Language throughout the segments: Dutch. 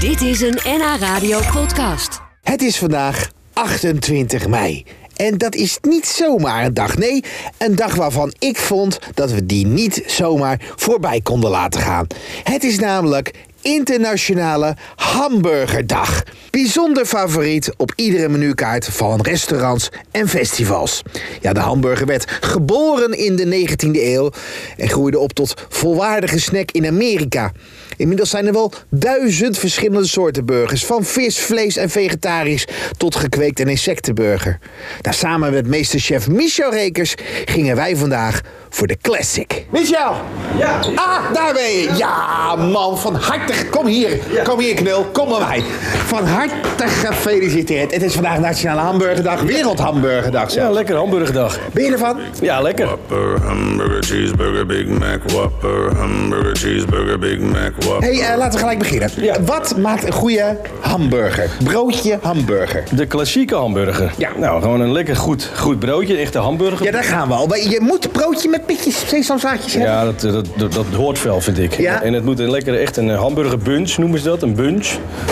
Dit is een NH Radio podcast. Het is vandaag 28 mei. En dat is niet zomaar een dag. Nee, een dag waarvan ik vond dat we die niet zomaar voorbij konden laten gaan. Het is namelijk Internationale Hamburgerdag. Bijzonder favoriet op iedere menukaart van restaurants en festivals. Ja, de hamburger werd geboren in de 19e eeuw en groeide op tot volwaardige snack in Amerika. Inmiddels zijn er wel duizend verschillende soorten burgers. Van vis, vlees en vegetarisch tot gekweekt en insectenburger. Daar samen met meesterchef Michel Rekers gingen wij vandaag voor de classic. Michel! Ja! Ah, daar ben je! Ja, man, van harte. Kom hier, kom hier, knul. Kom maar bij. Van harte gefeliciteerd. Het is vandaag Nationale Hamburgerdag, Wereldhamburgerdag Ja, zelfs. lekker hamburgerdag. Ben je ervan? Ja, lekker. Whopper, hamburger, cheeseburger, Big Mac. Whopper, hamburger, cheeseburger, Big Mac. Whopper. hey, eh, laten we gelijk beginnen. Ja. Wat maakt een goede hamburger? Broodje hamburger. De klassieke hamburger. Ja. Nou, gewoon een lekker goed, goed broodje. Een echte hamburger. Ja, daar gaan we al. Maar Je moet broodje met pitjes sesamzaadjes hebben. Ja, dat, dat, dat, dat hoort wel, vind ik. Ja. En het moet een lekker, echt een hamburgerbunch noemen ze dat. Een bunch.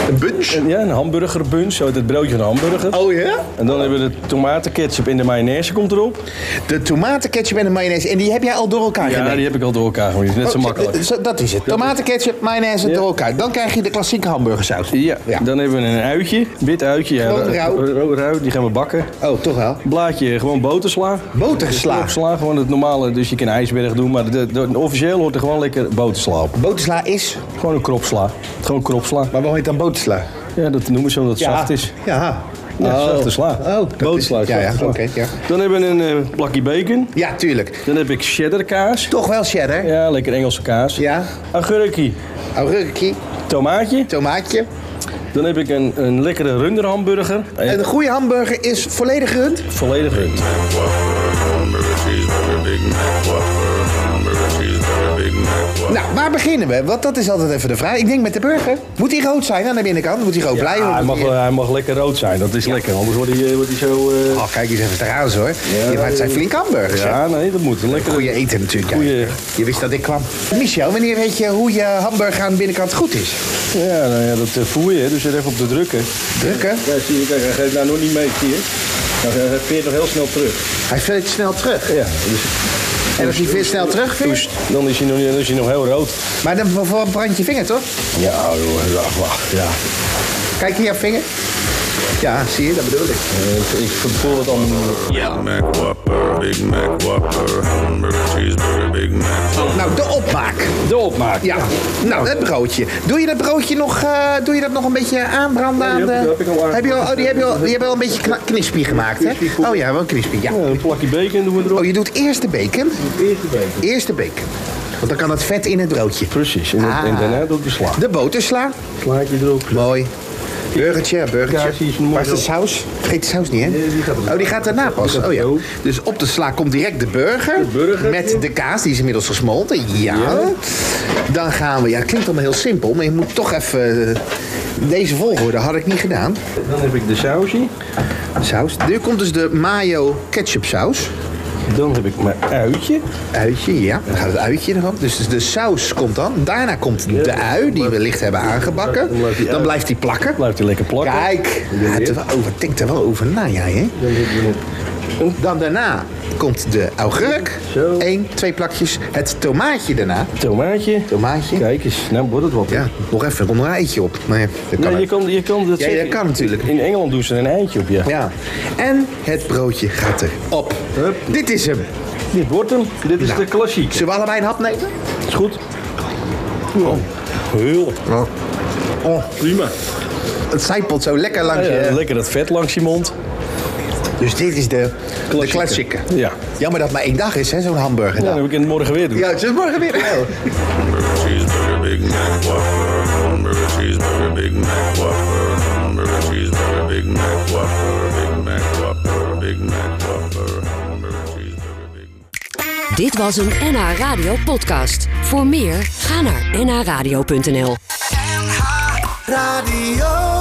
Een bunch. En Ja, een hamburgerbunch. Zo heet het broodje van een hamburger. Oh ja? En dan hebben we de tomatenketchup in de mayonaise komt erop. De tomatenketchup en de mayonaise. En die heb jij al door elkaar Oh, Ja, gedaan. die heb ik al door elkaar gemaakt. Net zo makkelijk. eh, dat is het. Tomatenketchup, mayonaise Ja. door elkaar. Dan krijg je de klassieke hamburgersaus. Ja, dan hebben we een uitje. Wit uitje. Ja, eh, Gewoon ro- rauw. ro- rauw, Die gaan we bakken. Oh, toch wel. Blaadje, gewoon botersla. Botersla. Knopsla, gewoon het normale. Dus je kan ijsberg doen, maar de, de- officieel hoort er gewoon lekker botersla op. Botersla is... Gewoon een kropsla. Gewoon kropsla. Maar waarom heet dan botersla? Ja, dat noemen ze omdat het zacht is. Ja. Ja, zachte sla. Oh, dat is- Botersla. Ja, ja, zachte oké. sla. ja. Dan hebben we een eh, plakje bacon. ja, tuurlijk. Dan heb ik cheddarkaas. Toch wel cheddar. Ja, lekker Engelse kaas. Ja. Agurkie, Augurkie, tomaatje. tomaatje. Dan heb ik een, een lekkere runderhamburger. En En een goede hamburger is volledig rund. volledig rund. Whopper, hamburger, cheeseburger, Big Mac. Whopper, hamburger, cheeseburger, Big Mac. Whopper. Nou, waar beginnen we? Want dat is altijd even de vraag. Ik denk met de burger. Moet die rood zijn Nou, aan de binnenkant? Moet die rood blijven? Ja, hij, Moet mag, eh, die- wel- hij mag lekker rood zijn, dat is lekker. Anders wordt hij, eh, wordt hij zo... eh, Oh, kijk eens even eraan, hoor. Ja, maar het zijn flink hamburgers, hè? Ja, nee, dat moet. Een lekkere... Goeie eten natuurlijk. ja. Goeie- Je wist dat ik kwam. Michel, wanneer weet je hoe je hamburger aan de binnenkant goed is? Ja, nou ja, dat eh, voel je, hè. dus zet even op de drukken. Drukken. Ja, zie je, kijk, hij geeft nou nog niet mee, zie je. Nou, Hij veert nog heel snel terug. Hij veert snel terug. Ja, dus En als hij veert snel terugveert... dan is hij nog, dan is hij nog heel rood. Maar dan verbrand je vinger, toch? Ja, joh, wacht, wacht, ja. Kijk hier, jouw vinger. Ja, zie je, dat bedoel ik. Eh, ik- Ik voel het allemaal. Big Mac Whopper, Big Mac Whopper, hamburger, cheeseburger, Big Mac. Nou, de opmaak. De opmaak. Ja, nou, het broodje. Doe je dat broodje nog, eh, doe je dat nog een beetje aanbranden? Ja, die aan de... heb ik- die heb ik al aan- heb je al, oh, die heb je al, die heb je al een beetje kna- knispie gemaakt, hè? Knispie, goed. Oh ja, wel knispie, ja. Ja, een plakje bacon doen we erop. Oh, je doet eerst de bacon. Eerst de bacon. Eerst de bacon. Want dan kan het vet in het broodje. Precies, en, Ah. en daarna doe ik de sla. De botersla. Slaatje erop. Mooi. Burgertje, burgertje. Kaasjes, noem maar Waar is de op. saus? Vergeet de saus niet, hè? Nee, die gaat er- oh, die gaat daarna pas. gaat Oh ja. zo. Dus op de sla komt direct de burger. De burger. Met de kaas, die is inmiddels gesmolten. Ja. Dan gaan we. Ja, het klinkt allemaal heel simpel, maar je moet toch even. eh, Deze volgorde had ik niet gedaan. Dan heb ik de sausje. Saus. Nu komt dus de mayo ketchup saus. Dan heb ik mijn uitje. Uitje, ja. Dan gaat het uitje ervan. Dus de saus komt dan. Daarna komt de ui, die we licht hebben aangebakken. Dan blijft die Dan ui- blijft die plakken. Blijft hij lekker plakken. Kijk, ja, het wel over, denk er wel over na, jij hè? Dan hebben we Dan daarna komt de augurk. Zo. Eén, twee plakjes. Het tomaatje daarna. een tomaatje. Tomaatje. Kijk eens, nou wordt het wat. Ja, nog even onder een eitje op. Maar ja, dat kan Nee, je ook. kan, je kan dat Ja, zeggen. dat kan natuurlijk. In Engeland doen ze er een eindje op, ja. ja. En het broodje gaat erop. Hup. Dit is hem. Dit wordt hem. Dit is Nou. de klassiek. Zullen we allebei een hap nemen? Is goed. Oh. Heel. Oh. Prima. het zijpelt zo lekker langs je. lekker dat vet langs je mond. Dus dit is de klassieke. De klassieke. Ja. Jammer dat maar één dag is, hè, zo'n hamburger. Dan heb ik het morgen weer doen. Ja, het is morgen weer. Hamburger, cheeseburger, Big Mac. Whopper, hamburger, cheeseburger, Big Mac. Whopper, hamburger, cheeseburger, Big Mac. Whopper, Big Mac. Whopper, Big Mac. Whopper, hamburger, cheeseburger, Big Mac. Dit was een NH Radio podcast. Voor meer, ga naar nhradio.nl. NH Radio.